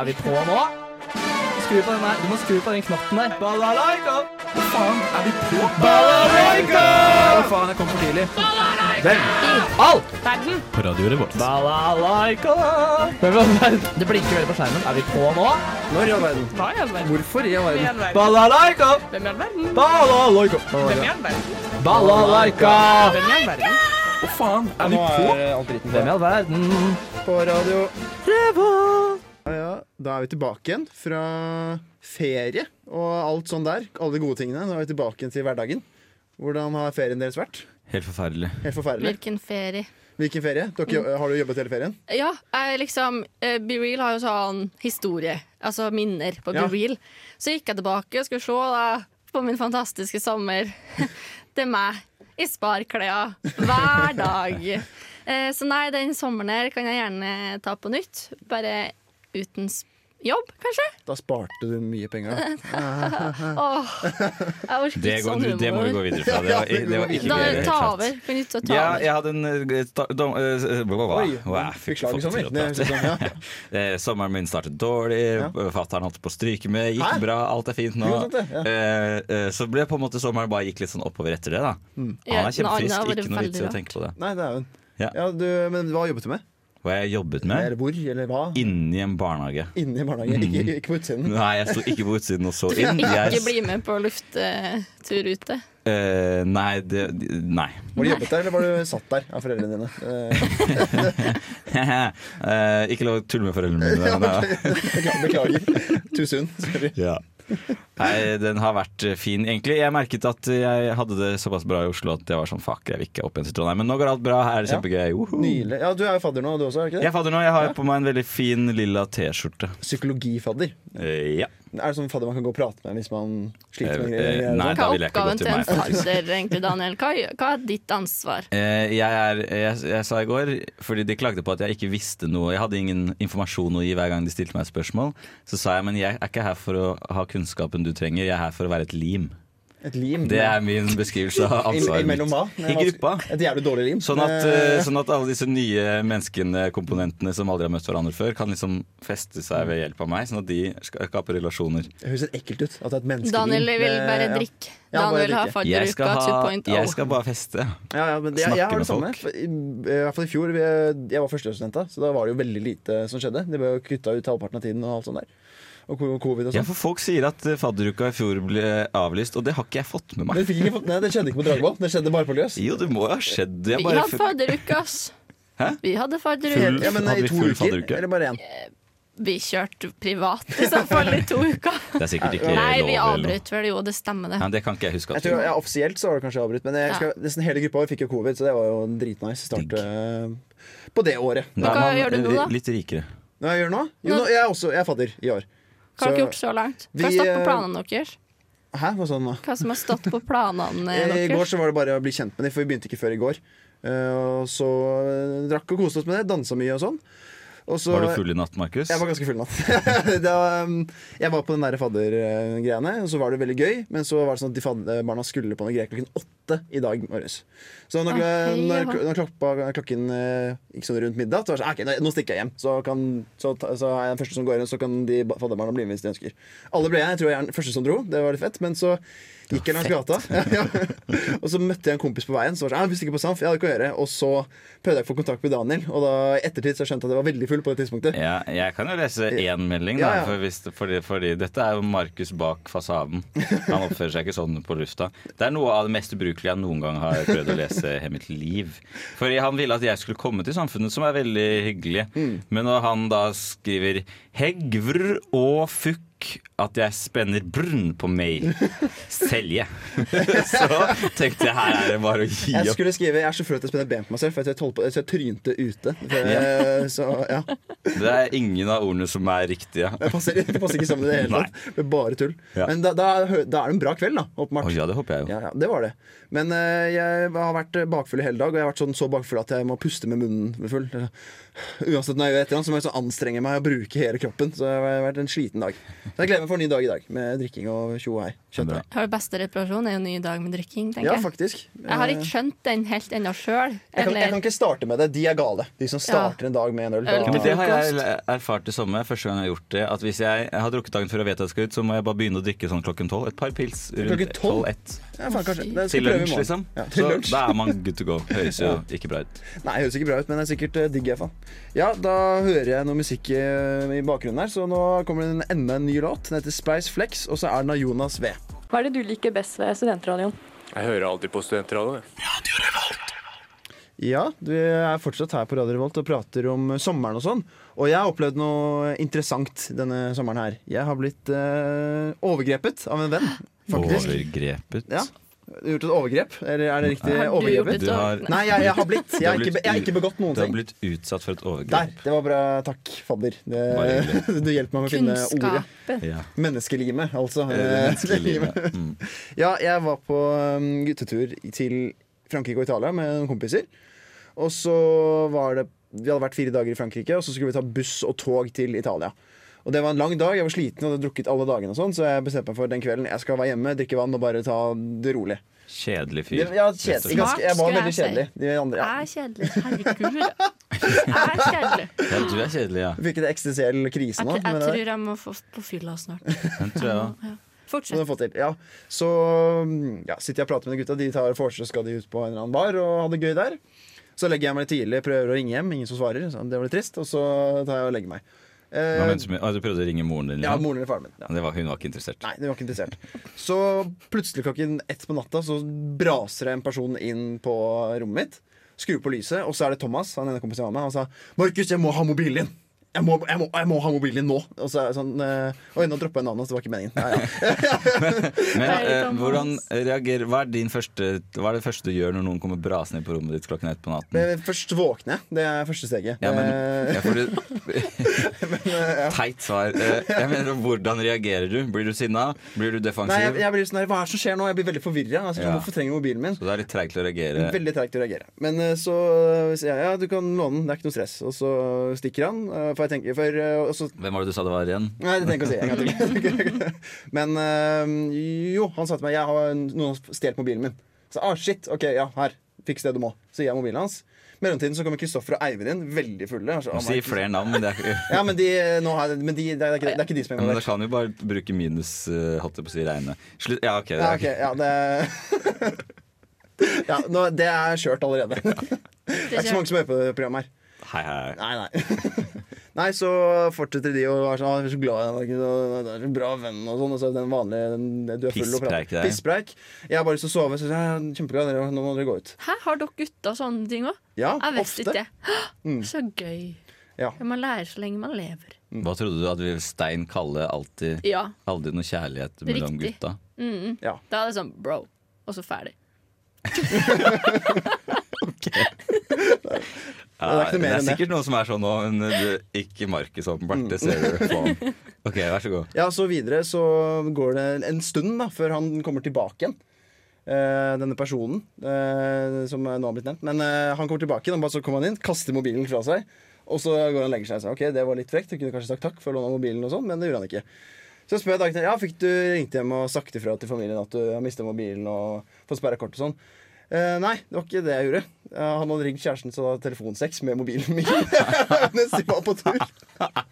Er vi på nå? Skru på den der. Du må skru på den knappen der. Balalaika! Hva faen? Er vi på? Balalaika! Hva faen, jeg kom for tidlig. Hvem? Alt! Verden. På radioen vår. Balalaika! Hvem er verden? Det blinker veldig på skjermen. Er vi på nå? Når i all verden? Hva i all verden? Hvorfor i all Hvem i verden? all verden? Balalaika! Hvem i all verden? Balalaika! Hvem i all verden? Balalaika! Hvem i all verden? Hva faen? Er vi Nå på? er alt dritten Hvem i på. all verden? På radio. Revolt! Ja, ja. Da er vi tilbake igjen fra ferie og alt sånn der. Alle de gode tingene. Nå er vi tilbake igjen til hverdagen. Hvordan har ferien deres vært? Helt forferdelig. Helt forferdelig. Hvilken ferie. Hvilken ferie? Dere, jo- har du jobbet hele ferien? Ja, jeg liksom eh, Be Real har jo sånn historie, altså minner på Be Ja. Real. Så gikk jeg tilbake og skulle se da på min fantastiske sommer. Det er meg i sparklær hver dag. Eh, så nei, den sommeren her kan jeg gjerne ta på nytt. Bare uten s- jobb, kanskje. Da sparte du mye penger. da. Åh, jeg orker Det, ikke går, sånn humor. det må vi gå videre fra. Det var, det var ikke da gøy i det hele ta tatt. over. Kan du ta over? Ja, jeg hadde en eh, sta- dom- eh, blah, blah, blah. Oi, Wow, jeg fikk fikk slag i fått sommer. til å Det prate. er sånn, ja. Eh, Sommeren min startet dårlig, Ja. fattern holdt på å stryke med, gikk Hæ? bra, alt er fint nå. Jo, sant det, ja. Eh, eh, Så ble på en måte sommeren bare gikk litt sånn oppover etter det, da. Mm. Han er Ja, nei, det har kjempefrisk, vært ikke noe vits i veldig å tenke på det. Nei, det er hun. Ja. Ja, du, men hva jobbet du med? Hva jeg jobbet Eller med? hvor? Eller hva? Inni en barnehage. Inne i barnehagen, ikke, ikke på utsiden. Nei, jeg sto ikke på utsiden og så inn. Jeg, Ikke bli med på lufttur ute. eh, nei, det, nei. Var du jobbet der, eller var du satt der av foreldrene dine? Eh, Eh, ikke lov å tulle med foreldrene mine. men det var- beklager- Beklager. Too soon. Sorry. Ja. Nei, den har vært eh, fin, egentlig. Jeg merket at jeg hadde det såpass bra i Oslo at jeg var sånn fuck, jeg vil ikke opp igjen til Trondheim. Men nå går alt bra, her er det Ja. kjempegøy. Uhu. Nydelig. Ja, du er jo fadder nå, du også? er du ikke Jeg det? er fadder nå, jeg har på meg en veldig fin lilla T-skjorte. Psykologifadder. Eh, ja. Er det sånn fadder man kan gå og prate med hvis man sliter med Eh, greier? eh, eller nei. noe? da Hva er ville jeg ikke oppgaven gått i til en meg, faktisk. fadder, egentlig, Daniel? Hva, hva er ditt ansvar? Eh, jeg, er, jeg, jeg sa i går, fordi de klagde på at jeg ikke visste noe Jeg hadde ingen informasjon å gi hver gang de stilte meg et spørsmål. Så sa jeg men jeg er ikke her for å ha kunnskapen du trenger, jeg er her for å være et lim. sånn? Et lim? Det er min beskrivelse av I- ansvaret Imellom hva? mitt. I gruppa. Et jævlig dårlig lim. Sånn at, Eh, eh, sånn at alle disse nye menneskene, komponentene som aldri har møtt hverandre før, kan liksom feste seg ved hjelp av meg, sånn at de ska- skaper relasjoner. Det høres litt ekkelt ut. At det er et menneskelim. Daniel vil Eh, bare ja. drikke. Ja, bare Daniel har drikke. Jeg fadderuka skal, ha, 2.0. jeg skal bare feste. Altså, Ja, ja, men det, jeg, Snakke jeg har med det samme. folk. I, I hvert fall i fjor. Vi, jeg var førsteårsstudent, da, så da var det jo veldig lite som skjedde. De ble jo kutta ut halvparten av tiden og alt sånt der. Og ko- covid og Ja, sånn. for folk sier at eh, fadderuka i fjor ble avlyst, og det har ikke jeg fått med meg. Men vi fikk ikke fått- nei, det skjedde ikke på Dragvoll. Det skjedde bare på Løs. Jo, det må jo ha skjedd. Jeg Vi bare, hadde fadderuke, ass. Hæ? Vi hadde Full- fadderuke. Ja, men eh, Hadde i vi to full uker. fadderuke? Eller bare én. Vi kjørte privat i så fall i to uker. det er sikkert ikke Nei, lov. eller vi noe. avbrøt vel, jo, det stemmer det. Nei, det kan ikke jeg huske. Jeg At tror, ja, offisielt så var det kanskje avbrutt, men jeg, Ja. husker nesten hele gruppa vår fikk jo covid, så det var jo dritnice. Starte eh, på det året. Da er Hva man, gjør du nå, eh, da? Litt rikere. Hva jeg gjør nå? Jo, nå, jeg er også jeg er fadder i år. Hva har Så- dere gjort så langt? Hva har Vi, stått på eh, planene deres? Hæ, hva sa du nå? Hva som har stått på planene I går deres? så var det bare å bli kjent med dem, for vi begynte ikke før i går. Eh, og så eh, drakk og koste oss med det, dansa mye og sånn. Og så, Var du full i natt, Markus? Jeg var ganske full natt. da, um, jeg var på den der faddergreiene, og så var det veldig gøy. Men så var det sånn at de fadderbarna skulle på noe greier klokken åtte i dag morges. Så når, Å, hei, når, ja. når klokka, klokken eh, gikk sånn rundt middag, så var det sånn OK, nå- nå stikker jeg hjem. Så, kan, så, ta- så er jeg den første som går inn, så kan de ba- fadderbarna bli med hvis de ønsker. Alle ble jeg. Jeg tror jeg er den første som dro. Det var litt fett. Men så gikk jeg langs gata, ja, og så møtte jeg en kompis på veien. Så var det sånn, «Ja, vi stikker på Samf, jeg hadde ikke å gjøre. Og så prøvde jeg å få kontakt med Daniel, og da i ettertid så skjønte jeg at jeg var veldig full på det tidspunktet. Ja, jeg kan jo lese én melding, da, Ja, ja. For hvis, fordi, fordi dette er jo Markus bak fasaden. Han oppfører seg ikke sånn på lufta. Det er noe av det mest ubrukelige jeg noen gang har prøvd å lese i hele mitt liv. Fordi han ville at jeg skulle komme til Samfunnet, som er veldig hyggelig. Mm. Men når han da skriver hegvr og fukk at jeg spenner brunn på meg, selje. Så tenkte jeg her er det bare å gi Jeg opp. skulle skrive 'Jeg er så full at jeg spenner ben på meg selv', for jeg, tror jeg, holdt på, så jeg trynte ute. Eh, Så ja, Det er ingen av ordene som er riktige. Det passer, det passer ikke sammen i det hele Nei. tatt. Det ble bare tull. Ja. Men da, da, da er det en bra kveld, da. Åpenbart. Å ja, det håper jeg jo. Ja, ja, det var det. Men eh, jeg har vært bakfull i hele dag, og jeg har vært sånn så bakfull at jeg må puste med munnen full. Uansett når jeg gjør et eller annet, så må jeg så anstrenge meg og bruke hele kroppen. Så jeg har vært en sliten dag. Så jeg gleder meg for en ny dag i dag, med drikking og tjo og hei. Kjøttdeig. Bra. Har beste reparasjon er jo en ny dag med drikking, tenker Ja, jeg. faktisk. Jeg har ikke Eh, skjønt den helt ennå jeg sjøl. kan, jeg kan Eller ikke starte med det. De er gale. De som starter en dag med en øl. Øl da- Ja, men det har jeg erfart det samme første gang jeg har gjort det. At hvis jeg har drukket dagen før jeg vet jeg skal ut, så må jeg bare begynne å drikke sånn klokken tolv. Et par pils Klokken rundt tolv? tolv-ett. Ja, faen, kanskje. Det skal Til vi prøve i lunsj, morgen. liksom. Ja, til Så lunsj. da er man good to go. Høres jo ikke bra ut. Nei, det høres ikke bra ut, men det er sikkert eh, digg. i hvert fall. Ja, Da hører jeg noe musikk eh, i bakgrunnen her, så nå kommer det en enda en ny låt. Den heter Spice Flex, og så er den av Jonas V. Hva er det du liker best ved studentradioen? Jeg hører alltid på studentradioen. jeg. Ja, du er fortsatt her på Radio Revolt og prater om eh, sommeren og sånn. Og jeg har opplevd noe interessant denne sommeren her. Jeg har blitt eh, overgrepet av en venn, faktisk. Overgrepet. Ja. Gjort et overgrep? Eller er det riktig? Har du Overgrepet? blitt- Du har, Nei, jeg, jeg har blitt. Jeg Du har har ikke, blitt be- jeg har ikke u- begått noen du har ting. blitt utsatt for et Der. overgrep. Det var bra. Takk, fadder. Det, Bare du hjelper meg med å finne ordet. kunnskapen. Ja. Menneskelimet, altså. Eh, menneskelivet. Mm. Ja, jeg var på um, guttetur til Frankrike og Italia med noen kompiser. Og så var det Vi hadde vært fire dager i Frankrike, og så skulle vi ta buss og tog til Italia. Og det var en lang dag, jeg var sliten og hadde drukket alle dagene, og sånn, så jeg bestemte meg for den kvelden jeg skal være hjemme, drikke vann og bare ta det rolig. Kjedelig Det, fyr. ja, rett og kjedelig, slett. ganske, jeg var Smart, veldig skulle kjedelig. jeg De andre, ja. Er kjedelig. Herregud. Er kjedelig. Ja, du er kjedelig, ja. Fikk en eksistensiell krise Jeg, nå. tr- Sånn, jeg men det- tror jeg må få på fylla snart. Den tror jeg også. Som de Fortsett. har fått til. Ja. Så mm, ja, sitter jeg og prater med de gutta. De tar for seg, så skal de ut på en eller annen bar og ha det gøy der. Så legger jeg meg litt tidlig, prøver å ringe hjem. Ingen som svarer. Så det var litt trist. Og så tar jeg og legger meg. Eh, Hva mente du med- ah, Du prøvde å ringe moren din? ja, liksom? moren eller faren min. Ja. Det var, hun var ikke interessert. Nei, de var ikke interessert. Så plutselig klokken ett på natta så braser det en person inn på rommet mitt. Skrur på lyset, og så er det Thomas, han ene kompisen jeg var med. Han sa 'Markus, jeg må ha mobilen din'. Jeg må, jeg, må, jeg må ha mobilen din nå! Og så er det sånn eh, Oi, nå droppa jeg navnet, så det var ikke meningen. Nei, ja. Men Nei, eh, Thomas. hvordan reagerer hva er, din første, hva er det første du gjør når noen kommer brasende inn på rommet ditt klokken ett på natten? Eh, Først våkne. Det er første steget. Mm. Ja, men Eh, jeg får et teit svar. Eh, Jeg mener, hvordan reagerer du? Blir du sinna? Blir du Nei, jeg, defensiv? jeg blir sånn her, Hva er det som skjer nå? Jeg blir veldig forvirra. Altså, Ja. Hvorfor trenger jeg mobilen min? Så det er litt treigt å reagere. Veldig treigt å reagere. Men eh, så sier jeg ja, du kan låne den. Det er ikke noe stress. Og så stikker han. eh, For jeg tenker for, eh, og så, Hvem var det du sa det var igjen? Nei, det trenger jeg ikke å si. En gang til. Men eh, jo, han sa til meg jeg har noen har stjålet mobilen min. Så ah, shit. Ok, ja, her. Fiks det du må. Så gir jeg mobilen hans. I mellomtiden så kommer Kristoffer og Eivind inn, veldig fulle. Og så, Du «Oh my sier God». flere navn, men det er ikke Ja, men de, eh, nå har, jeg- men de, det, er ikke, det er ikke de som er men Da involvert. kan vi bare bruke minus eh, holdt jeg på å si regne. Slutt. Ja, ok. det Ja, er ok, ja, det ja, nå, Det er kjørt allerede. Det er ikke så mange som hører på det programmet her. Hei, hei. Nei, nei. Nei, så fortsetter de å være sånn «Å, 'Jeg er så glad i deg, Markus, og du er så bra venn', og sånn. Og så er det den vanlige den, Du er full og Pisspreik, det prater. er. Pisspreik. Jeg har bare lyst til å sove, så jeg er kjempeglad i dere, nå må dere gå ut. Hæ, har dere gutter sånne ting òg? Ja, Jeg visste ikke ofte. Mm. det. Så gøy. Ja. Man lærer så lenge man lever. Hva trodde du at vi stein kalle alltid Ja. Aldri noe kjærlighet mellom Riktig. gutta? Ja. Da er det sånn bro, og så ferdig. Ja, det er ikke noe mer enn det. sikkert noen som er sånn nå, men det- ikke Markus åpenbart. Det ser du på ham. Ok, vær så god. Ja, så videre så går det en stund da før han kommer tilbake igjen. Eh, denne personen eh, som nå har blitt nevnt. Men eh, han kommer tilbake igjen, og bare så kommer han inn, kaster mobilen fra seg. Og så går han og legger seg. Så, ok, det var litt frekt. Du kunne kanskje sagt takk for lån av mobilen, og sånn, men det gjorde han ikke. Så spør jeg dagen etter, ja, fikk du ringt hjem og sagt ifra til familien at du har mista mobilen og fått sperra kort og sånn. Eh, nei, det var ikke det jeg gjorde. Eh, han hadde ringt kjæresten til å ha telefonsex med mobilen min mens de var på tur.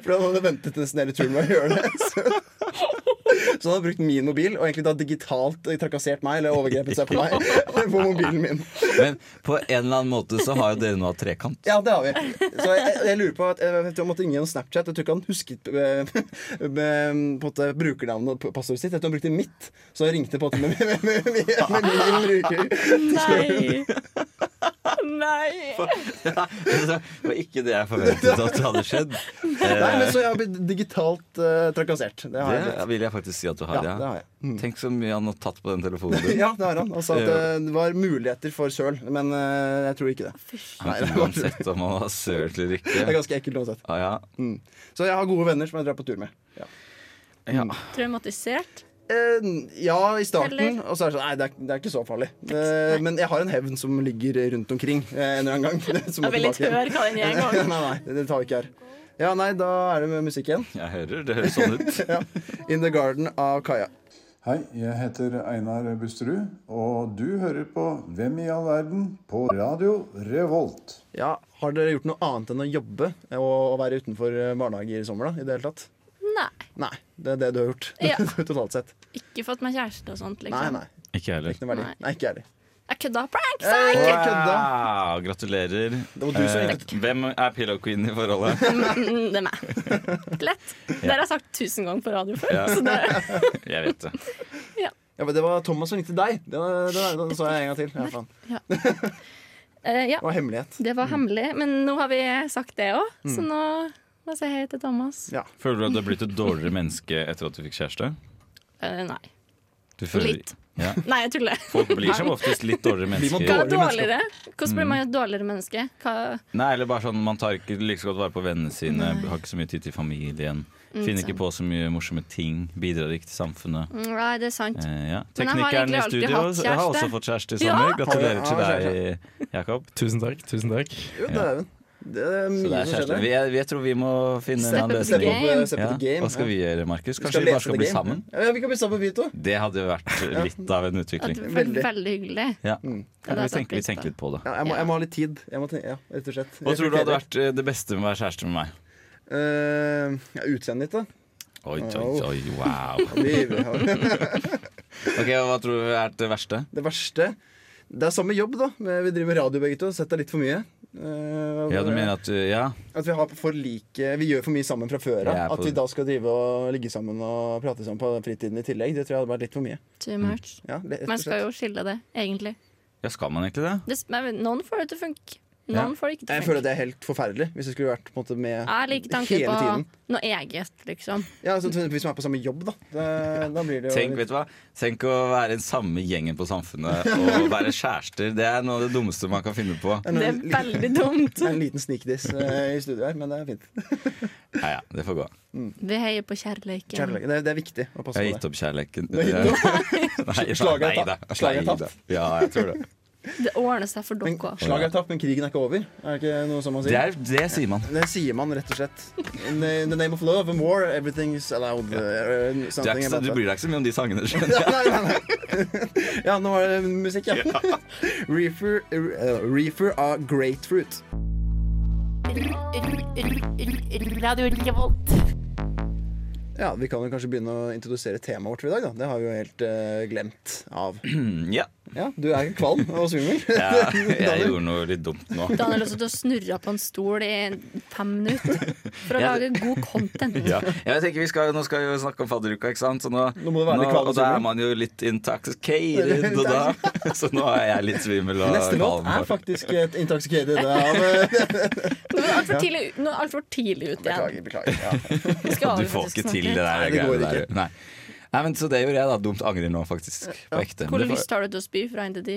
For han hadde ventet nesten hele turen med å gjøre det. Så, så han hadde brukt min mobil og egentlig da digitalt trakassert meg eller overgrepet seg på meg på mobilen min. Men på en eller annen måte så har jo dere nå hatt trekant. Ja, det har vi. Så jeg, jeg lurer på at jeg, vet ikke, jeg måtte ringe gjennom Snapchat. Jeg tror ikke han husket eh, med, på en måte, brukernavnet og passordet sitt. Jeg tror han brukte mitt, så jeg ringte på en måte med, med, med, med, med min bruker. Nei! Nei! Ja, altså, det var ikke det jeg forventet at det hadde skjedd. Nei, men Så jeg har blitt digitalt eh, trakassert. Det har jeg blitt. Det vil jeg faktisk si at du har, Ja, det har ja. jeg. Tenk så mye han har tatt på den telefonen din. Ja, det har han. Han sa at eh, det var muligheter for søl, men eh, jeg tror ikke det. Nei, det var- Uansett om han har sølt eller Det er ikke. ganske ekkelt uansett. Ah, ja. Så jeg har gode venner som jeg drar på tur med. Ja, Ja. Traumatisert. eh, ja i starten. Eller- Og så er det sånn Nei, det er, det er ikke så farlig. Eh, men jeg har en hevn som ligger rundt omkring eh, en eller annen gang. som må Jeg vil tilbake ikke igjen. høre hva den er Nei, engang. nei, det tar vi ikke her. Ja, nei, da er det med musikk igjen. Jeg hører, det høres sånn ut. Ja. In the Garden av Kaja. Hei, jeg heter Einar Busterud, og du hører på Hvem i all verden på Radio Revolt. Ja, Har dere gjort noe annet enn å jobbe og å være utenfor barnehager i sommer? da, i det hele tatt? Nei. Nei, det er det du har gjort. Ja. Totalt sett. Ikke fått meg kjæreste og sånt, Nei, liksom. nei. Ikke jeg heller. Ikke noe verdi. Nei. Nei, ikke jeg heller. Jeg kødda prank, sa jeg! Ikke kødda! Ah, gratulerer. Det var du som Eh, ringte. hvem er pillow queen i forholdet? Mm, Det er meg. Lett. Det har jeg sagt tusen ganger på radio før. Ja. Så det, Jeg vet det. Ja, men det var Thomas som ringte deg. Det, var- det, var- det sa jeg en gang til. Ja, faen. Eh, ja, Det var hemmelighet. det Mm. var hemmelig, men nå har vi sagt det òg, så nå må jeg si hei til Thomas. Ja. Føler du at du er blitt et dårligere menneske etter at du fikk kjæreste? Eh, nei. Du føler, Litt. Ja. nei, jeg tuller. Folk blir som oftest litt dårligere Blir man Hva mennesker. er dårligere? Hvordan Mm. blir man et dårligere menneske? Hva, Nei, eller bare sånn, Man tar ikke like så godt vare på vennene sine, har ikke så mye tid til familien. Finner ikke på så mye morsomme ting. Bidrar ikke til samfunnet. Mm, nei, det er sant. Eh, ja. Men jeg har Teknikeren i egentlig alltid studio hatt har kjæreste. også fått kjæreste i Ja! sommer. Har Gratulerer du- til har du deg, Jakob. Tusen takk. tusen takk Jo, dæven. Det er Så det mye er som kjæreste. skjer Vi der. er, jeg tror vi må finne en Step annen up the løsning. game. Step up, eh, step up the game, Hva ja. skal vi gjøre, Markus? Vi Kanskje vi bare lese skal The bli Game. sammen? Ja, vi kan bli sammen, vi to. Det hadde vært litt av en At utvikling. det var Veldig. veldig, hyggelig. Mm. Ja. hadde Vi jeg satt tenker, vi pris tenker på. litt på det. Ja, jeg, må, Ja. jeg må ha litt tid. Jeg må tenke, ja, rett og slett. Hva tror du hadde vært eh, det beste med å være kjæreste med meg? Eh, ja, Utseendet ditt, da. Oi, oi, ivrig, oi, wow. Vi- vi har- Ok, og Hva tror du er det verste? Det verste Det er samme jobb, da. men Vi driver med radio begge to. Sett deg litt for mye. Eh, Ja, du mener at du, ja, At vi har for like Vi gjør for mye sammen fra før Jeg er av. på- At vi da skal drive og ligge sammen og prate sammen på fritiden i tillegg, det tror jeg hadde vært litt for mye. Too much. Mm. Ja, rett og Man skal slett. jo skille det, egentlig. ja, skal man egentlig det? Det, men noen får det til å funke. Ja. Noen får det jeg ikke til å føler at funke. det er helt forferdelig hvis det skulle vært på en måte med Jeg liker tanken hele tiden. på noe eget, liksom. Ja, altså, Hvis man er på samme jobb, da. Det, da blir det jo Tenk, litt- vet du hva? Tenk å være den samme gjengen på Samfunnet og være kjærester. Det er noe av det dummeste man kan finne på. Det er veldig dumt. Det er en liten sneakdiss eh, i studio her, men det er fint. Ja, ja, det får gå. Vi heier på kjærleiken. Kjærlighet. Det, er- det er viktig å passe Jeg har på gitt det. opp kjærleiken. har gitt Nei, nei, Slaget er nei da. tapt. Slaget er Nei da. Ja, jeg tror det. Det ordner seg for Men dere òg. Slaget er tapt, men krigen er ikke over. Er det ikke noe som man Det, sier? er, det sier man. Det sier man rett og slett. In the, in the name of love and war, everything's allowed. eh, Du, er something ikke, så- about du that. bryr deg ikke så mye om de sangene. skjønner Ja, nei, nei, nei. ja, nå var det musikk, ja. Reefer, eh, reefer av grapefruit. Ja, Vi kan jo kanskje begynne å introdusere temaet vårt for i dag. da Det har vi jo helt eh, glemt av. jeg. Ja, Mm, Ja, Du er kvalm og svimmel. ja, jeg Daniel. gjorde noe litt dumt nå. Daniel har sittet og snurra på en stol i fem minutter for å Ja, lage god content. Ja. jeg tenker vi skal, Nå skal vi jo snakke om fadderuka, ikke sant? Så nå, Nå må du være litt kvalm og og da svimmel. er man jo litt intoxicated, og da, så nå er jeg litt svimmel og Neste låt er faktisk et intoxicated av eh, Nå er altfor tidlig, nå er alt for tidlig ute igjen. Beklager, beklager. Ja. Vi Du skal avslutte får ikke snart. til det der. Nei, det går ikke. greiene der. Nei. Nei, men Så det gjorde jeg, da. Dumt angrer nå, faktisk. På ekte. Men Hvor det får- lyst har du til å spy fra en til ti?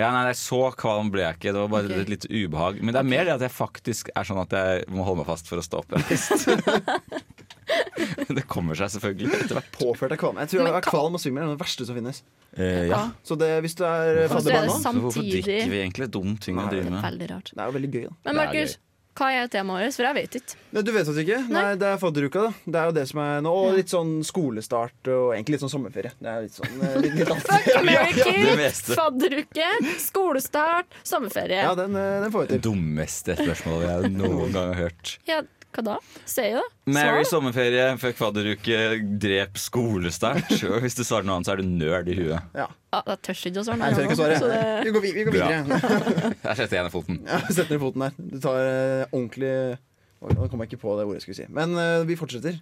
Ja, nei, nei, Så kvalm ble jeg ikke. Det var bare Ok. et litt ubehag. Men det er mer det at jeg faktisk er sånn at jeg må holde meg fast for å stå opp. det kommer seg selvfølgelig etter hvert. Påført av kvalm. Jeg tror Men at kvalm og svimmel er noe av det verste som finnes. Eh, ja. Så det, hvis du er eh, Og så er fadderbarn nå det Så hvorfor drikker samtidig vi egentlig dum ting å drive med? Veldig rart. Det er jo veldig gøy, da. Men Det er Markus, gøy. hva er temaet vårt? For jeg vet ikke. Nei, du vet oss ikke. Nei, Det er fadderuka, da. Det er jo det som er nå. Og litt sånn skolestart og egentlig litt sånn sommerferie. Det er litt sånn eh, litt, litt alt. American det Kids, meste. fadderuke, skolestart, sommerferie. Ja, den, eh, den får vi Det til. dummeste spørsmålet jeg noen gang har hørt. Ja, hva da? Sier jeg det? Mary Svar da. sommerferie, fuck fadderuke, drep skolestart. Og hvis du svarer noe annet, så er du nerd i huet. Ja. Ja, da tør jeg ikke å svare. Nei, jeg tør ikke å noe svare. annet, så det- Vi går, vi, vi går videre. Der setter jeg ned foten. Ja, Sett ned foten der. Du tar eh, ordentlig Oi, Nå kom jeg ikke på det ordet jeg skulle si. Men eh, vi fortsetter.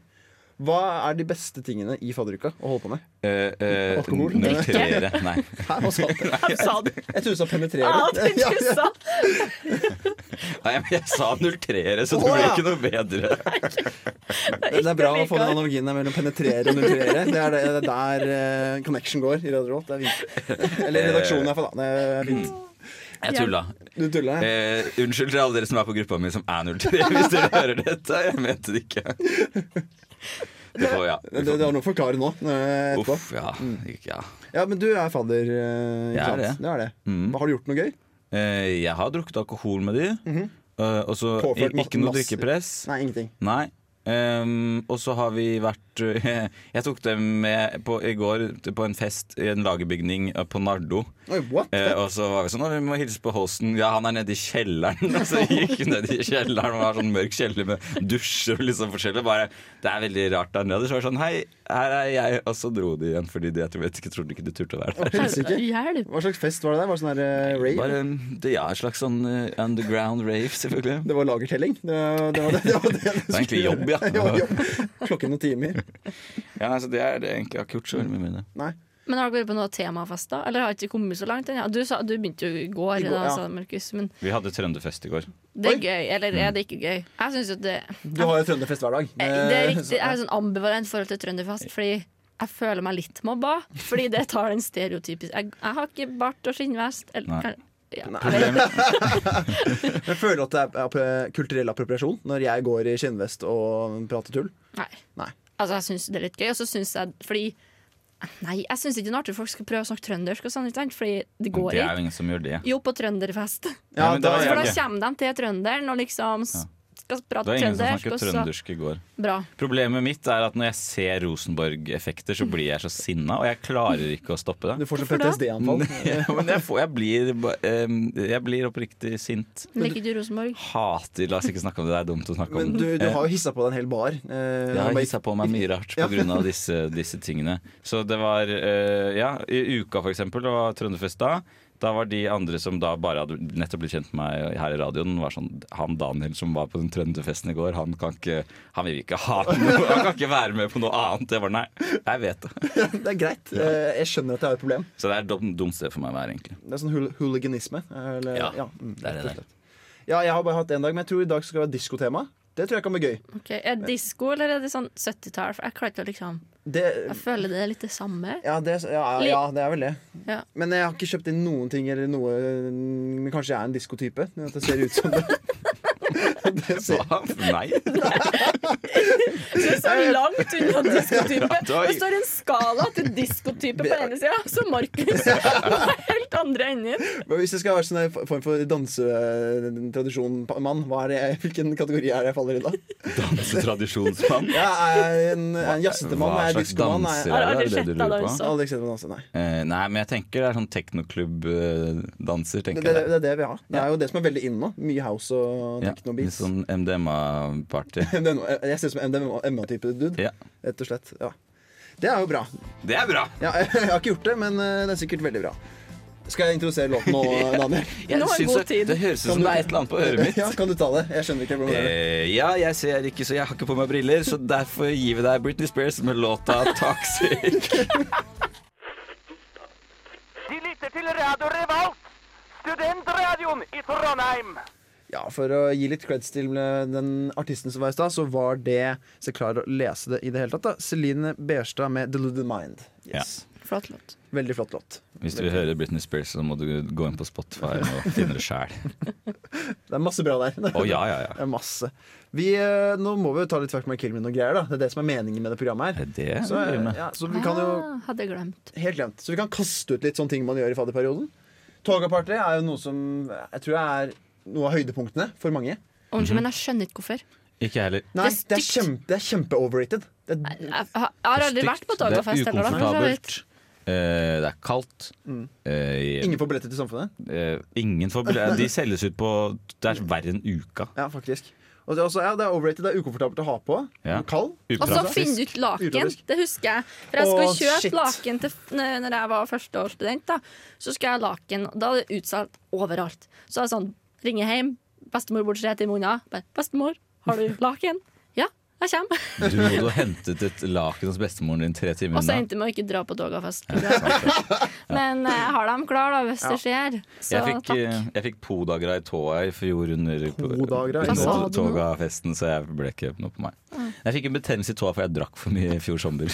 Hva er de beste tingene i fadderuka å holde på med? Eh, eh, Alkohol? Notere. Nei. Hæ, hva sa du? Jeg sa det. Jeg trodde du sa penetrere. Ja, det Ja, du ja. sa. Nei, men jeg sa nulltrere, så det Å, ble ja. ikke noe bedre. Det er bra å få den likevel. analogien der mellom penetrere og nulltrere. Det er det, det er der eh, connection går i Radio Revolt. Det er fint. Eller redaksjonen, iallfall. Det er fint. Jeg tulla. Du tuller? ja. Eh, unnskyld til alle dere som er på gruppa mi som er 03, hvis dere hører dette. Jeg mente det ikke. Det får, ja. Det, det har noe å forklare nå. eh, etterpå. Uff, ja. Ikke- ja. Ja, Men du er fadder. eh, ikke Jeg er sant? det. Du er det. Mm. Har du gjort noe gøy? Eh, jeg har drukket alkohol med de. eh, og så i- Mhm. Påført masse- ikke noe masse- drikkepress. Nei, ingenting. Nei. Ehm, og så har vi vært eh, Jeg tok dem med på, i går på en fest i en lagerbygning eh, på Nardo. Oi, what? Eh, og så var vi sånn «Å, Vi må hilse på Holsten. Ja, han er nede i kjelleren. Og så gikk vi ned i kjelleren og var sånn mørk kjeller med dusjer og litt sånn forskjellig. Bare, det er veldig rart der nede. Så var det sånn Hei, her er jeg. Og så dro de igjen fordi de jeg tror- jeg ikke, trodde ikke de turte å være der. Helsike. Hjelp! Hva slags fest var det der? Var det sånn her eh, rave? Bare, eh, det er en slags sånn eh, underground rave, selvfølgelig. Det var lagertelling. Det var det, var det, det, var det, du Det var egentlig skulle gjøre. jobb, ja. Det var jobb. Klokken noen timer. Ja, nei, så det er det egentlig. Jeg har ikke gjort så veldig mye med det. Nei. Men har dere vært på noen temafester? Eller har ikke kommet så langt ennå? Du, sa- du begynte jo i I går, går, da, ja. sa Markus. Men Vi hadde Trønderfest i går. det er Oi. gøy, eller er det ikke gøy? Jeg synes jo at det Du har jo trønderfest hver dag. Eh, Det er Eh, riktig. Jeg har sånn ambivalent forhold til Trønderfest, fordi jeg føler meg litt mobba. Fordi det tar den stereotypiske Jeg, jeg har ikke bart og skinnvest. Nei. Eller, kan, ja. Jeg føler at det er appro- kulturell appropriasjon når jeg går i skinnvest og prater tull. Nei. Nei. Altså, jeg syns det er litt gøy, og så syns jeg Fordi Nei, jeg syns ikke det er artig at folk skal prøve å snakke trøndersk og sånn, ikke sant? Fordi det går Det er ikke. jo ingen som gjør det. Jo, på trønderfest. Ja, Ja, da, men det var For ok. da kommer de til trønderen og liksom s- skal Det prate var ingen som trøndersk, snakket og så trøndersk i går. Bra. Problemet mitt er at når jeg ser Rosenborg-effekter, så blir jeg så sinna, og jeg klarer ikke å stoppe du det. får så Hvorfor da? PTSD-anfall. Men jeg, får, jeg, blir, ba- em, jeg blir oppriktig sint. Liker du Rosenborg? Hater La oss ikke snakke om det, det er dumt å snakke Men om. du, du Eh, har jo hissa på deg en hel bar. Eh, jeg har bare- hissa på meg mye rart Ja. pga. av disse, disse tingene. Så det var eh, Ja, i uka for eksempel, det var Trønderfest da. Da var de andre som da bare hadde nettopp blitt kjent med meg her i radioen, var sånn Han Daniel som var på den trønderfesten i går, han kan ikke Han vil ikke ha noe Han kan ikke være med på noe annet. Jeg bare nei, jeg vet det. Det er greit. Eh, jeg skjønner at det er et problem. Så det er et dumt- dumt sted for meg å være, egentlig. Det er sånn hul hooliganisme. Eller, Ja, mm, det er rett det og der. slett. Ja, jeg har bare hatt én dag, men jeg tror i dag skal være diskotema. Det tror jeg kan bli gøy. Ok, Er det disko, eller er det sånn 70-tall? For jeg klarer ikke å liksom Det, Jeg føler det er litt det samme. Ja, det, ja, ja, det er vel det. Ja. Men jeg har ikke kjøpt inn noen ting eller noe mm, Men kanskje jeg er en diskotype? At det ser ut som det. det ser, Hva? Nei. Du er så langt unna diskotype. da- Det står en skala til diskotype på ene sida, så Markus på helt andre enden. Men hvis jeg skal være sånn en form for dansetradisjonmann, hva er det jeg- hvilken kategori er det jeg faller i da? Dansetradisjonsmann. Jeg er en, jeg er en jazzete mann, Hva jeg er slags diskomann. danser Jeg Har er det, aldri er det sett du deg lurer på? danse. har aldri sett på danse, nei. Eh, nei, men jeg tenker det er sånn teknoklubb-danser, Det, tenker det, jeg. det er det vi har. Det er jo det som er veldig inne nå. Mye house og Ja, litt techno-beats. sånn MDMA-party. Jeg ser ut som en MDMA-type dude, Ja. rett og slett. Ja. Det er jo bra. Det er bra! Ja, jeg har ikke gjort det, men eh, det er sikkert veldig bra. Skal jeg introdusere låten nå, Daniel? Nå er syns det- god tid. Det høres ut som det er et eller annet på øret mitt. Ja, kan du ta det? Jeg skjønner ikke hvordan det er. Eh, ja, jeg ser ikke, så jeg har ikke på meg briller, så derfor gir vi deg Britney Spears med låta 'Toxic'. De lytter til Radio Revolt, studentradioen i Trondheim. Ja, For å gi litt creds til den artisten som var i stad, så var det Så jeg klarer å lese det i det hele tatt, da. Celine Berstad med 'Deluded Mind'. Yes. Flott låt. Veldig flott låt. Hvis du hører Britney Spears, så må du gå inn på Spotify og finne det sjæl. Det er masse bra der. Å ja, ja, Det ja. er masse. Vi, eh, nå må vi jo ta litt Fuck my kill me noe greier, da. Det er det som er meningen med det programmet Er her. det det Så, du driver eh, med? ja, så vi kan jo Ah, hadde glemt. Helt glemt. Så vi kan kaste ut litt sånne ting man gjør i fadderperioden. Togaparty er jo noe som jeg tror er noe av høydepunktene for mange. Unnskyld, men jeg skjønner ikke hvorfor. Ikke jeg heller. Nei, Det er det er, stygt. kjempe, det er kjempeoverrated. Det er, Jeg, jeg, har- jeg har aldri vært på Det er Tagafest heller. da, for så ukomfortabelt. vidt. Eh, det er kaldt. Eh, ingen får billetter til samfunnet. eh, ingen får bli- De selges ut på Det er verre enn uka. Ja, faktisk. Og det er, også, ja, det er overrated, det er ukomfortabelt å ha på. Ja. Kald. Og så Upraktisk. finne ut laken. Utopisk. Det husker jeg. For jeg Å, skulle kjøpe shit. laken til, n- når jeg var førsteårsstudent. Da Så skulle jeg ha laken. og Da er det utsolgt overalt. Så er det sånn, ringer hjem, bestemor bort rett i munnen. Bare, 'Bestemor, har du laken?' 'Ja, jeg kommer.' Du må jo ha hentet et laken hos bestemoren din tre timer Og så unna. endte jeg med å ikke dra på Dogafest. Men eh, jeg har dem klar, da, hvis det skjer. Så Jeg fikk, takk. eh, jeg fikk podagra i tåa i fjor under Podagra i under tåa? togafesten, så jeg ble ikke noe på meg. Jeg fikk en betennelse i tåa for jeg drakk for mye i fjor sommer.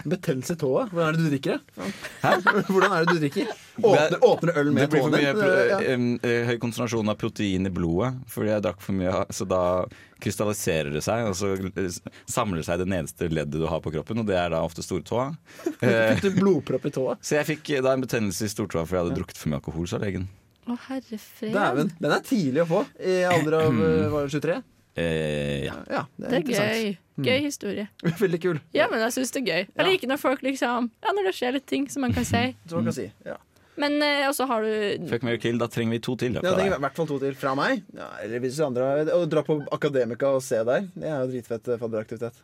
Betennelse i tåa. Hvordan er det du drikker? det? Hvordan er det du drikker? Åpner, åpner øl Det med blir for tåen mye din? pro- Ja. em, eh, høy konsentrasjon av protein i blodet fordi jeg drakk for mye, av- så da krystalliserer det seg, og så eh, s- samler det seg i det nederste leddet du har på kroppen, og det er da ofte stortåa. Eh, Putter blodpropp i tåa. Så jeg fikk eh, da en betennelse i stortåa fordi jeg hadde drukket for mye alkohol, sa legen. Å, herre fred. Dæven. Den er tidlig å få. I alder av Mm. eh, var det 23? Eh, ja. Ja, det er, Det er interessant. gøy. Gøy historie. Veldig kul. Ja, men jeg syns det er gøy. Jeg liker når folk liksom Ja, når det skjer litt ting som man kan si. Så man kan si. Mm. Ja. Men eh, også har du Fuck, marry, kill. Da trenger vi to til. Da, Ja, fra det er I deg. hvert fall to til fra meg. Ja, eller hvis andre har- Å dra på Akademika og se der, det er jo dritfett eh, fadderaktivitet.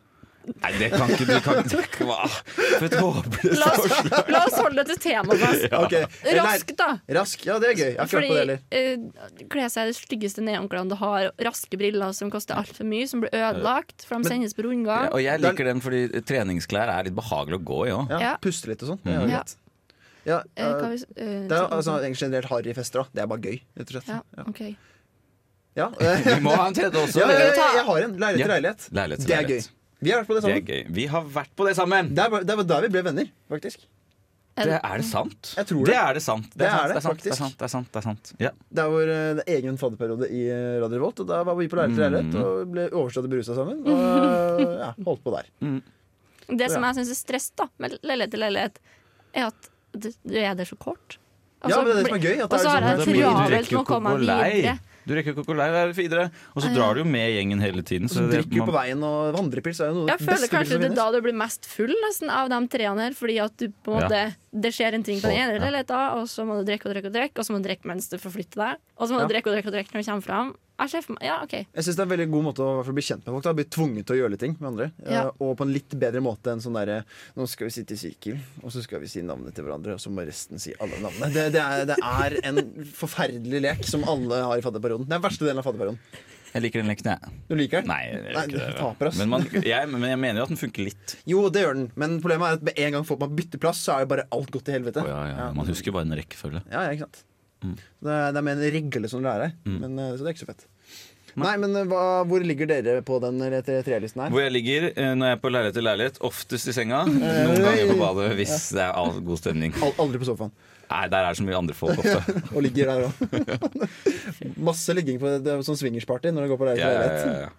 Nei, det kan ikke du kan ikke, hva? For et håpløst La oss, la oss holde det til temaet. da. Ok, eh, nei, Raskt, da. Rask, ja, det er gøy. Jeg har ikke vært på det Fordi heller. eh, Kle seg i det styggeste neonklærne du har, raske briller som koster altfor mye, som blir ødelagt, for de sendes på Ja, rundgang. og jeg liker den fordi treningsklær er litt behagelig å gå i òg. Ja, Ja. Puste litt og sånn. Det Mm. er jo Ja. greit. Ja, Eh, hva eh, hvis- eh, det er jo altså, egentlig generelt harry fester. Da. Det er bare gøy, rett og slett. Ja, ok. Ja, eh, Vi må ha en tredje også. ja, ja, ja, ta- jeg har en. Leilighet til Ja. leilighet. Leilighet til Det er gøy. leilighet. Vi har vært på det Det er sammen. gøy. Vi har vært på det sammen! Det er bare- det var da vi ble venner, faktisk. Det er det sant? Jeg tror det. det. er det sant. Det er sant, det, sant, faktisk. det er sant, det er sant, det er sant. Ja. Det er vår eh, egen fadderperiode i eh, Radio Revolt. Og da var vi på leilighet til leilighet og ble overstadig berusa sammen. Og eh, ja, holdt på der. Det som Ja. jeg syns er stress da med leilighet til leilighet, er at du du er der så kort. Og Ja, men så det er det som er blir- gøy, at det Og er så har liksom- Det jeg Men blir- du travelt rekker med jo å komme meg ikke å gå lei. videre. Du rekker jo ikke å gå lei deg videre. Og så drar du jo med gjengen hele tiden. Så Så det, drikker jo på man, veien, og vandrepils er jo noe av Jeg det føler beste pilsen kanskje som det er finnes. da du blir mest full nesten av de treene her, fordi at du på en Ja. måte det skjer en ting på den Så, ene ja. leiligheten, og så må du drikke og drikke og drikke, og så må du drikke mens du forflytter deg, og så må du drikke og drikke og drikke når du kommer fram. Jeg ser for meg Ja, OK. Jeg synes det er en veldig god måte å i hvert fall bli kjent med folk. Da. Bli tvunget til å gjøre litt ting med andre. Ja. Eh, Og på en litt bedre måte enn sånn derre Nå skal vi sitte i sirkel, og så skal vi si navnet til hverandre, og så må resten si alle navnene. Det, det, er, det er en forferdelig lek som alle har i fadderperioden. Det er den verste delen av fadderperioden. jeg liker den leken, jeg. Du liker den? Nei, jeg Nei, gjør ikke du det. taper, ass. Men, man, jeg, men jeg mener jo at den funker litt. Jo, det gjør den, men problemet er at med en gang folk man bytter plass, så er jo bare alt gått til helvete. Å, ja, Mm. ja. Man husker bare en rekkefølge. Ja, ja, ikke sant. Det, er, det er mer en regle som lærer deg, Mm. men, eh, så det er ikke så fett. Nei, men eh, hva, hvor ligger dere på den eh, tre- trelisten her? Hvor jeg ligger eh, når jeg er på leilighet til leilighet, oftest i senga. Noen ganger på badet hvis det er all- god stemning. Al- Aldri på sofaen. Nei, der er det så mye andre folk ofte. Og ligger der òg. Masse ligging på det, det er sånn swingersparty når du går på leilighet Ja, til ja, leilighet. ja, ja.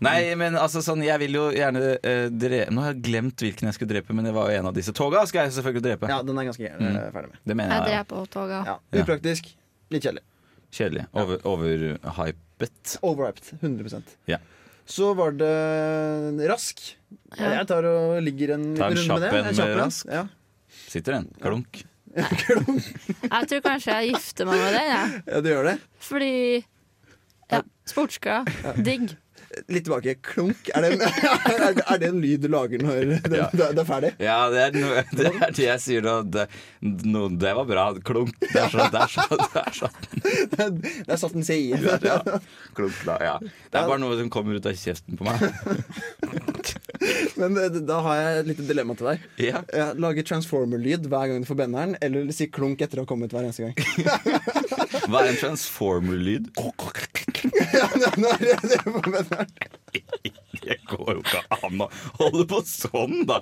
Nei, men altså sånn, jeg vil jo gjerne eh, drepe Nå har jeg glemt hvilken jeg skulle drepe, men det var jo en av disse. Toga skal jeg selvfølgelig drepe. Ja, den er ganske gæren. Mm. eh, Ferdig med. Det Jeg mener jeg. dreper på toget. Ja, Upraktisk. Litt kjedelig. Kjedelig. Over- Overhypet. Overhyped. 100 Ja. Så var det rask. Ja. Jeg tar og ligger en Ta en liten runde kjapp med det. en med kjapp en. Rask. Ja. Sitter en klunk. Jeg tror kanskje jeg gifter meg med den, jeg. ja, du gjør det. Fordi ja, sportsklær. Digg. Litt tilbake. Klunk. Er det, er, er det en lyd du lager når det, Ja. det, det er ferdig? Ja, det er noe- det er det jeg sier nå. Det, no, det var bra. Klunk. Det er sånn. Det er sånn. Det er sånn. Det er satt en C i. Det er, ja. Klunk, da. Ja. Det er bare noe som kommer ut av kjeften på meg. Men eh, da har jeg et lite dilemma til deg. Ja. Eh, Lage transformer-lyd hver gang du får benneren, eller si klunk etter å ha kommet hver eneste gang. Hva er en transformer-lyd? Ja, nå er det- det er på benneren. Det går jo ikke an å holde på sånn, da!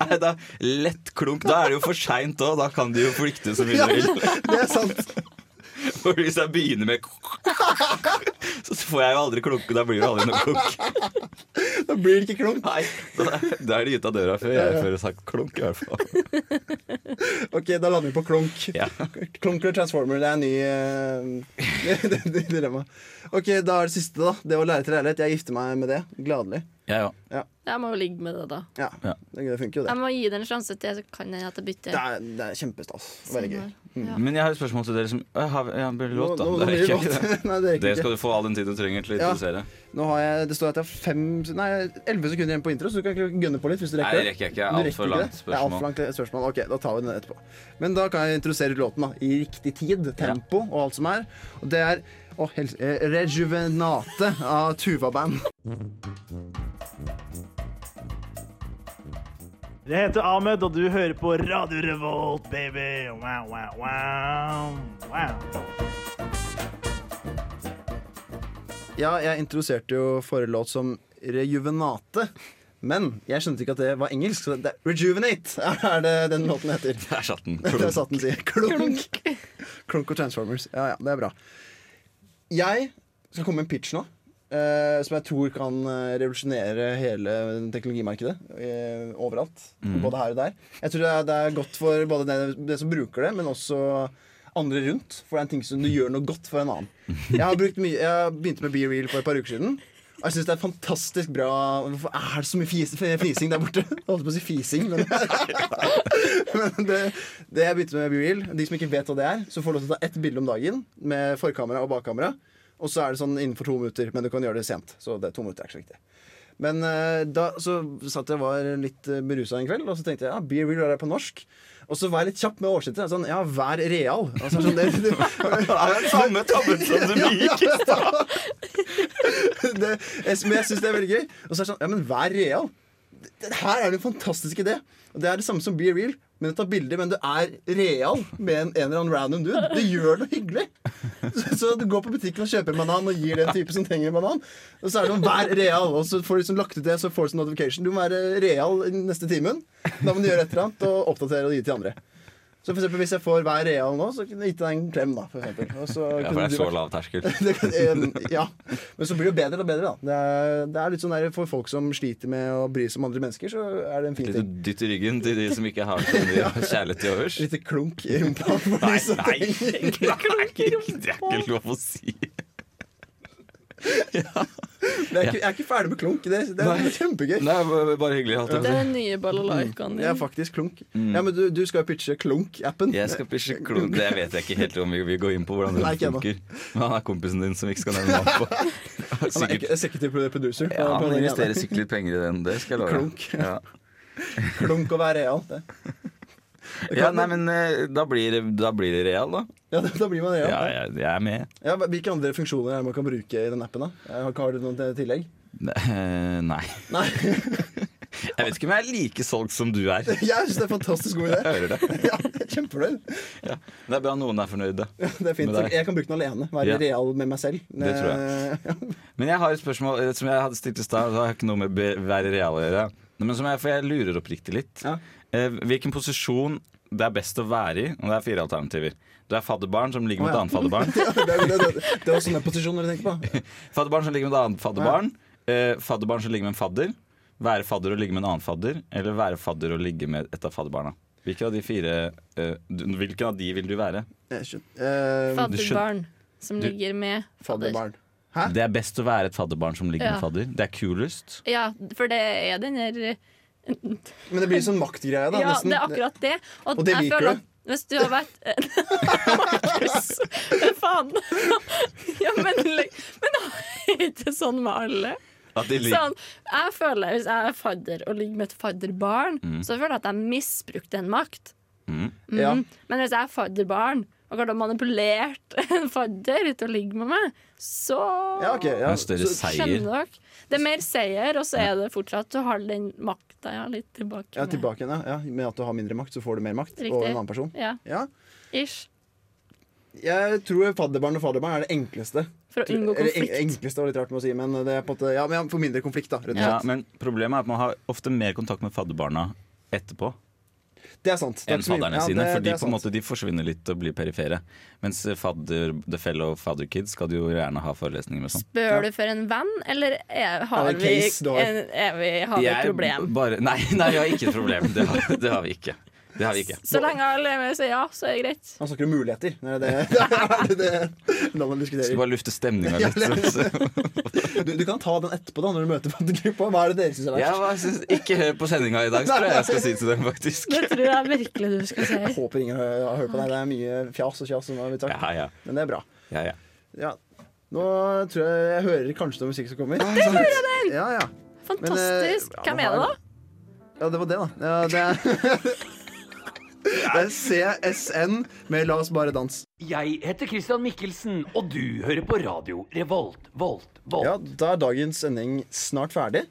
Nei, da lett klunk. Da er det jo for seint òg. Da kan de jo flykte så mye Ja, de vil. det er sant. For hvis jeg begynner med Så får jeg jo aldri klunke. Da blir det aldri noe klunk. Da blir det ikke klunk. Nei, Da da er de ute av døra før jeg før jeg har sagt klunk, i hvert fall. Ok, da lander vi på klunk. Ja. Klunk eller transformer, det er en ny eh, det- det- det dilemma. Ok, da er det siste, da. Det å lære til leilighet. Jeg gifter meg med det. Gladelig. Ja, ja. Jeg må jo ligge med det, da. Ja, Ja. Det funker jo, det. Jeg må gi det en sjanse til, så kan jeg at jeg bytter. Sånn Det er, det er kjempestas. Det er Veldig gøy. Ja. Men jeg har et spørsmål til dere som Å, har vi- ja, blir det låt, da? Nå- nå- nå Det blir rekker det jeg ikke. det. låt. Nei, det rekker Det jeg skal ikke. du få all den tiden du trenger til å Ja. introdusere. Nå har jeg, det står at jeg har fem Nei, elleve sekunder igjen på intro, så du kan gønne på litt. hvis du rekker Nei, det rekker jeg ikke. Det er Du alt rekker for ikke langt det? Det er alt for langt spørsmål. Ok, da tar vi den etterpå. Men da kan jeg introdusere låten da, i riktig tid, tempo og alt som er. Og det er å, helse, eh, Rejuvenate av Tuva Band. Jeg heter Ahmed, og du hører på Radio Revolt, baby. Wow, wow, wow. wow. Ja, jeg introduserte jo forrige låt som Rejuvenate. Men jeg skjønte ikke at det var engelsk. Så det er Rejuvenate er det den låten heter. Der satt den. Der satt den, sier jeg. Klunk. Klunk og Transformers. Ja, ja, det er bra. Jeg skal komme med en pitch nå. eh, som jeg tror kan eh, revolusjonere hele teknologimarkedet eh, overalt. Både her og der. Jeg tror det er, det er godt for både det, det som bruker det, men også andre rundt. For det er en ting som du gjør noe godt for en annen. Jeg har brukt mye, jeg begynte med Be Real for et par uker siden. Og jeg syns det er fantastisk bra Hvorfor er det så mye fis, fnising der borte? Jeg holdt på å si fising, men, men det, det jeg begynte med Be Real De som ikke vet hva det er, så får du lov til å ta ett bilde om dagen med forkamera og bakkamera. Og så er det sånn innenfor to minutter, men du kan gjøre det sent. Så det er to minutter er ikke så viktig. Men eh, da så satt jeg og var litt eh, berusa en kveld, og så tenkte jeg ja, be real er det på norsk. Og så var jeg litt kjapp med oversettet. Sånn, ja, vær real. Altså, sånn, det, det, Samme tabben som du liker! det, jeg, men jeg syns det er veldig gøy. Og så er det sånn, ja, men vær real. Det, det her er det en fantastisk idé. Og det er det samme som be real. Men du tar bilder, men du er real med en, en eller annen random dude. Det gjør noe hyggelig. Så, så du går på butikken og kjøper en banan og gir den type som trenger en banan. Og så er det sånn, vær real. Og så får du sånn lagt ut det, så får du sånn notification. Du må være real i den neste timen. Da må du gjøre et eller annet og oppdatere og gi til andre. Så for eksempel, hvis jeg får vær real nå, så kunne jeg gitt deg en klem, da. For eksempel. og så Ja, kunne for det er du så vært- lav terskel. det, kan- eh, ja. Men så blir det jo bedre og bedre, da. Det er, det er litt sånn der, For folk som sliter med å bry seg om andre mennesker, så er det en fin Litt å ting. dytte ryggen til de som ikke har så mye kjærlighet til overs. Litt klunk i rumpa. for de Nei, som nei, trenger- det er ikke- det er ikke lov å si. Men Jeg er, ikke, jeg er ikke ferdig med klunk. Det, det er kjempegøy. Nei, bare- bare hyggelig. Alt Det jeg. er den nye balalaikaen Jeg er din. Mm. faktisk klunk. Ja, Men du, du skal jo pitche klunk-appen. Mm. Jeg skal bli sjokolade. Det vet jeg ikke helt om vi vil gå inn på hvordan det Nei, ikke ennå. funker. Men han er kompisen din som vi ikke skal nevne navn på. Han er Sikkert. ikke executive producer. Ja, på han den investerer greia der. sikkert litt penger i den. Det skal jeg love. Klunk. Ja. Klunk og være real. Det. ja, nei, men eh, da blir, det- da blir det real, da. Ja, da blir man real. Ja, Ja, jeg, jeg er med. hva- hvilke andre funksjoner er det man kan bruke i den appen? da? Eh, Har har du noen til- tillegg? Eh, Nei. Nei. Jeg vet ikke om jeg er like solgt som du er. Jeg Jeg syns det er en fantastisk god idé. hører det. Ja, jeg er Kjempefornøyd. Ja. Det er bra noen er fornøyd, da. Det er fint. Med deg. Jeg kan bruke den alene. Være Ja. real med meg selv. Det tror jeg. Men jeg har et spørsmål eh, som jeg hadde stilt i stad. Det har ikke noe med be- være real å gjøre. Nei, Men som jeg, for jeg lurer oppriktig litt. Ja. Eh, hvilken posisjon det er best å være i? Og det er fire alternativer. Du er fadderbarn som ligger med Å, ja. et annet fadderbarn. det, det, det, det var sånne posisjoner du tenker på. Fadderbarn som ligger med et annet fadderbarn. Eh, fadderbarn som ligger med en fadder. Være fadder og ligge med en annen fadder. Eller være fadder og ligge med et av fadderbarna. Hvilken av de fire eh, du, Hvilken av de vil du være? Jeg skjønner. Eh, Fadderbarn som ligger med fadder. Fadderbarn. Hæ? Det er best å være et fadderbarn som ligger Ja. med fadder. Det er kulest. Ja, for det er den der Men det blir sånn maktgreie, da. Ja, nesten. det er akkurat det. Og det jeg liker du? føler at Hvis du har vært Markus, hva faen? ja, men, li- men er ikke sånn med alle? At de lik- Sånn, jeg føler Hvis jeg er fadder og ligger med et fadderbarn, så føler jeg at jeg misbrukte en makt. Mhm. Mm. Ja. Men hvis jeg er fadderbarn og har da manipulert en fadder til å ligge med meg, så Ja, ok, ja. Det er en større Så- seier. Skjønner dere? Det er mer seier, og så er det fortsatt Du har den makta ja, litt tilbake. ja, med- tilbake igjen, ja. ja. Med at du har mindre makt, så får du mer makt Riktig. over en annen person. Ja, Ja. ish. Jeg tror fadderbarn og fadderbarn er det enkleste. For å unngå Eller en- konflikt. enkleste var litt rart med å si, men det er på en måte Ja, men ja, for mindre konflikt, da. Rett og slett. Ja, men problemet er at man har ofte mer kontakt med fadderbarna etterpå Det er sant. Det er enn ikke så mye- fadderne ja, sine. det- fordi det er på en sant. måte de forsvinner litt og blir perifere. Mens eh, fadder, the fellow father kids skal du jo gjerne ha forelesninger med sånn. Bør du for en venn, eller er, har, Er det en vi, case du har? en, er vi, har vi et problem? Bare, nei, nei, vi har ikke et problem. Det har, det har vi ikke. Det har vi ikke. Så lenge alle er med og sier ja, så er det greit. Han snakker om muligheter. Det er det, det, det, det landet Skal diskuterer. bare lufte stemninga litt. Så, så. Du, du kan ta den etterpå, da, når du møter faddergruppa. Hva er det dere syns er verst? Jeg var, synes, ikke hør på sendinga i dag, tror jeg jeg skal si til dem, faktisk. Det tror jeg virkelig du skal Jeg si. håper ingen hø- har hørt på deg. Det er mye fjas og kjas. som er mitt tak. Ja, ja. Men det er bra. ja, ja. Ja. Nå tror jeg jeg hører kanskje noe musikk som kommer. Det gjorde den! Ja, ja. Fantastisk. Men, eh, Hvem ja, er det, nå har da? ja, det var det, da. Ja, det er det er CSN med La oss bare danse. Jeg heter Christian Mikkelsen, og du hører på radio Revolt, Volt, Volt. Ja, da er dagens sending snart ferdig.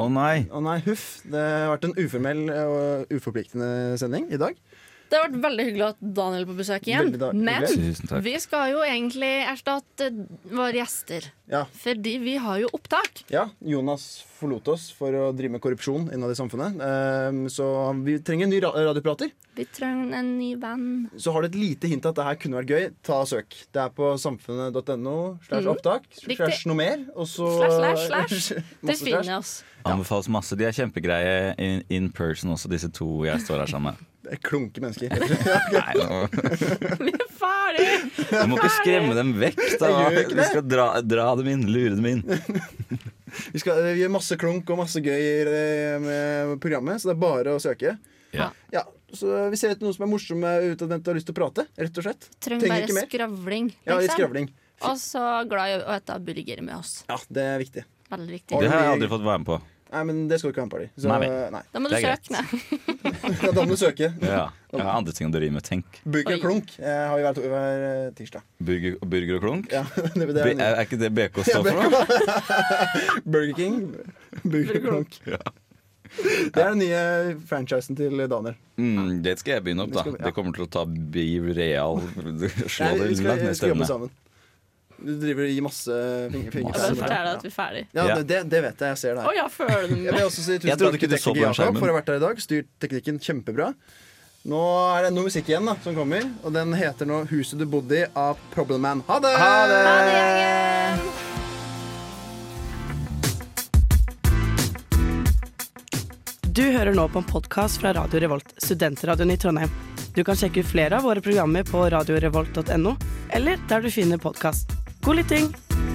Å nei. Å nei, huff. Det har vært en uformell og uforpliktende sending i dag. Det har vært veldig hyggelig at Daniel er på besøk igjen. Veldig da- hyggelig. Men Tusen takk. vi skal jo egentlig erstatte våre gjester. Ja. Fordi vi har jo opptak. Ja, Jonas forlot oss for å drive med korrupsjon innad i samfunnet. Ehm, Så vi trenger en ny ra- radioprater. Vi trenger en ny venn. Så har du et lite hint at det her kunne vært gøy. Ta og Søk. Det er på samfunnet.no. Slash opptak. Mm. Riktig. Slash noe mer. Og så Slash, slash, slash. Du Masse slash. finner oss. Anbefales masse. De er kjempegreie in, in person også, disse to jeg står her sammen med. Det er klunke mennesker. rett og slett. Nei, nå, Vi er ferdig! du må ikke skremme dem vekk, da. Jeg gjør ikke Du skal dra, dra dem inn, lure dem inn. Vi, skal, vi gjør masse klunk og masse gøy eh, med programmet, så det er bare å søke. Ja. Ja, så Vi ser etter noen som er morsomme utadvendte og har lyst til å prate. rett og slett Trenger ikke bare mer. skravling. Ja, litt liksom. skravling. Og så glad i å spise burger med oss. Ja, det er viktig. Veldig viktig. Det har jeg aldri fått være med på. Nei, men det skal du ikke ha med party. Så, Nei, nei, vel. nei. Da må du Det er greit. søke ned. Ja, Da må du søke. Ja. Jeg har andre ting å drive med. Tenk. Burger Oi. klunk eh, har vi hver, to- hver eh, tirsdag. Burger, burger og klunk. Ja, det, det Be- er, Er, er ikke det BK står for? da? Burger King, burger klunk. Det er den nye franchisen til Daniel. Mm, det skal jeg begynne opp, da. Det skal vi- ja. Det kommer til å ta Biv Real. Nei, Slå det vi skal, vi langt ned i skal jobbe stemmene. sammen. Du driver og gir masse fingre. Jeg bare Masse. fingre. forteller deg at vi er ferdig. Ja, Ja. det, det, det vet jeg. Jeg ser det Å her. ja, føler du Jeg meg? vil også si tusen Jeg trodde takk ikke til du så på tekniker den Jakob skjermen. for å ha vært her i dag. Styrt teknikken kjempebra. Nå er det noe musikk igjen da, som kommer, og den heter nå 'Huset du bodde i' av Problem Man. Ha det! Ha det! Ha det, gjengen! Du hører nå på en podkast fra Radio Revolt, studentradioen i Trondheim. Du kan sjekke ut flere av våre programmer på radiorevolt.no, eller der du finner podkast. God lytting!